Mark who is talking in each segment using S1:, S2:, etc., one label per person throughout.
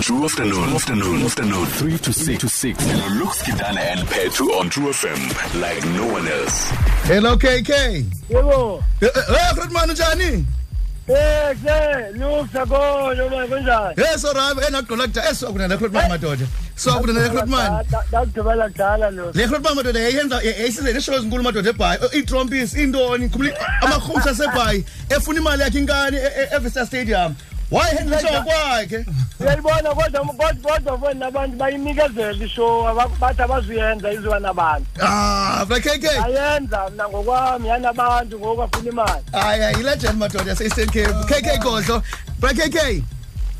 S1: True afternoon. Afternoon. Afternoon. Three to six to six. Looks Kidana and Petu on True FM like no one else.
S2: hello kk
S3: yebo
S2: Eh, eh, eh fredman unjani
S3: eh kule nusa konje uma kunjani
S2: hey soraba enagqolakda esiwakunana fredman madoda siwakunana fredman
S3: dakugqibela kudala lo
S2: le fredman madoda eh, yayiyenza yayisize neshow ezinkulu madoda ebhayi Eh, iitrompis iintoni khumbula i- amarhumsha asebhayi eh, efuna imali yakhe inkani e- e- evista stadium wayihendla ishow kwakhe
S3: uyayibona kodwa kodwa- kodwa foni nabantu bayinikezela ishow aba- bathi abazuyenza iziwa nabantu
S2: ah fra kk
S3: ayenza mna ngokwami yanabantu ngoku afuna imali
S2: aya ilegend madoda yase-eastern cape kk godlo fra kk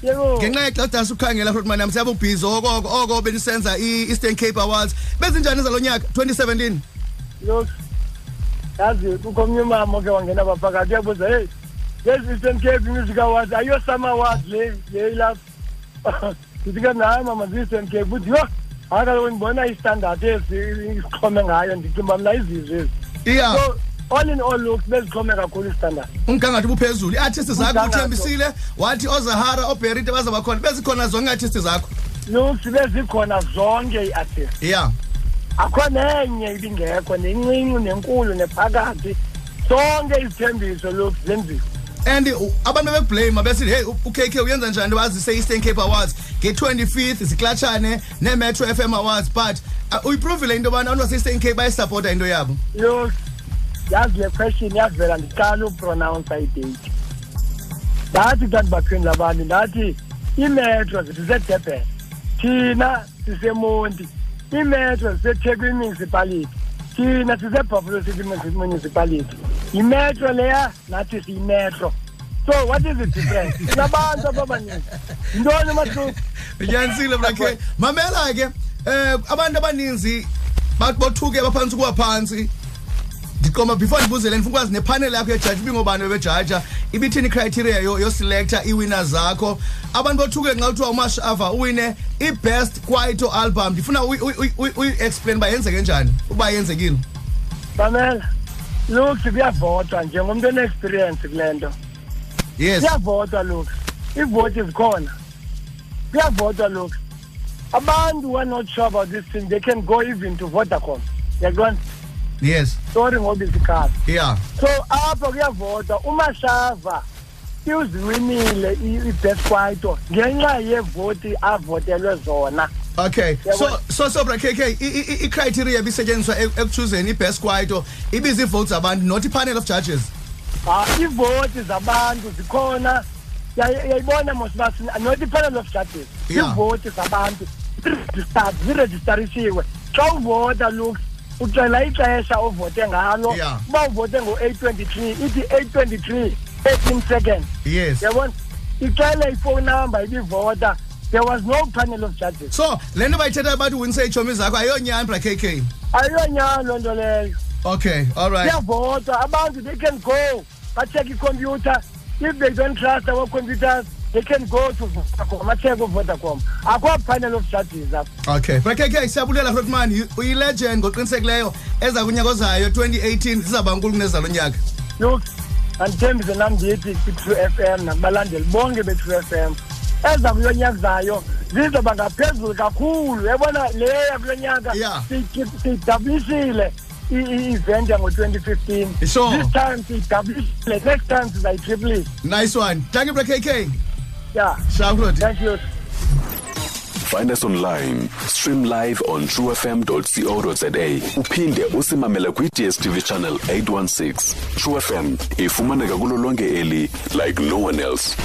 S3: yebo
S2: ngenxa yexadasi ukukhangela fredman nam siyabe ubhizi oko oko- oko benisenza i-eastern cape awards bezinjani zalo nyaka 2017
S3: yosi yazi kukho omnye umama oke wangena baphakathi uyabuza heyi lezi eastern cape music awards ayiyo summer awards le le ilapha ndifike nayo mama zi-eastern cape uthi yho hayi kaloku ndibona istandard esi isixhome ngayo ndicinga uba mna izizwe ezi
S2: iya
S3: so all in all looks bezixhome kakhulu istandard
S2: umgangatho ubuphezulu iiartisti zakho
S3: Umgangatho.
S2: uthembisile wathi ozahara oberite bazawuba khona bezikhona zonke iiartisti zakho
S3: looks bezikhona zonke iiartist
S2: iya
S3: akho nenye ibingekho nencinci nenkulu nephakathi zonke izithembiso looks zenziwe
S2: and u- abantu bebekublame besithi heyi ukk uyenza njani wazise i-eastern cape awards nge-25th ziklatshane nee-metro f m awards but uh, uyiprovile into yobana abantu base-eastern cape bayisapota into yabo
S3: Yo, yazi le question yavela ndiqala ukupronounsa idate ndathi kanti baphendula abantu ndathi iimetro zithi zedurban thina sisemonti iimetro zisethekwini municipality thina sisebuffalo city Munici- municipality yimetro leya nathi siyimetro so what is the difference sinabantu ababaninzi yintoni umahluko
S2: unyanisile brakhe mamela ke um abantu abaninzi ba- bothuke baphantsi ukuba phantsi ndiqoma before ndibuzele ndifuna ukwazi nephaneli yakho yejaji ibingobani bebejaja ibithini icriteria yoselekta iiwina zakho abantu bothuke nxa kuthiwa umashava uwine i-best kwaito album ndifuna uyi-explain uba yenzeke njani uba yenzekile
S3: bamela looks kuyavotwa njengomntu one-experience kule nto
S2: yes
S3: kuyavotwa lokhu iivoti zikhona kuyavotwa lokhu abantu who are not sure about this thing they can go even to vodacom yakubona
S2: yes
S3: sorry ngobizikhaba
S2: yeah
S3: so apha kuyavotwa umashava iziwinile i- i-best kwaito ngenxa yeevoti avotelwe zona
S2: okay so
S3: Yabona.
S2: so so bra kk icriteria ibisetyenziswa ekuchuzeni i-best kwaito ibizi-votes abantu not i-panel of judges
S3: Ah, iivoti zabantu zikhona Uyayi- uyayibona mosibasini not i-panel of judges
S2: Yeah.
S3: iivoti zabantu ziregistered- zirejistarishiwe xa uvota lux ucela ixesha ovote ngalo
S2: Yeah.
S3: uba uvote ngo-eight twenty-three ithi eight twenty-three eighteen seconds
S2: yes
S3: uyabona icele ifowuni number ibivota there was no panel of judges
S2: so le nto bayithetha abantu uwinise iitshomi zakho ayiyonyani bra kk
S3: ayiyonyani loo nto leyo
S2: okay all right
S3: kuyavotwa abantu they can go bacheck ikhompyutha if they don't trust our computers they can go to vodacom bacheck uvodacom akho panel of judges apha
S2: okay bra kk siyabulela frotman uyilegend ngoqinisekileyo eza kunyaka ozayo 2018 zizawuba nkulu kunezalo nyaka
S3: look andithembise nam ndithi kwi-true f m nakubalandeli bonke be-true f m eza kulo nyaka zayo zizoba ngaphezulu kakhulu yabona leya kulo nyaka
S2: Yeah.
S3: siyi- siyidablisile i-event yango-twenty fifteen
S2: Sure.
S3: this time siyidablisile next time E. sizayitriplise
S2: nice one thank you bra kk
S3: yeah
S2: shakulot
S3: thank you
S1: Find us online. Stream live on truefm.co.za. Uphinde usimamela kwi DSTV channel 816. True FM ifumaneka kulo lonke eli like no one else.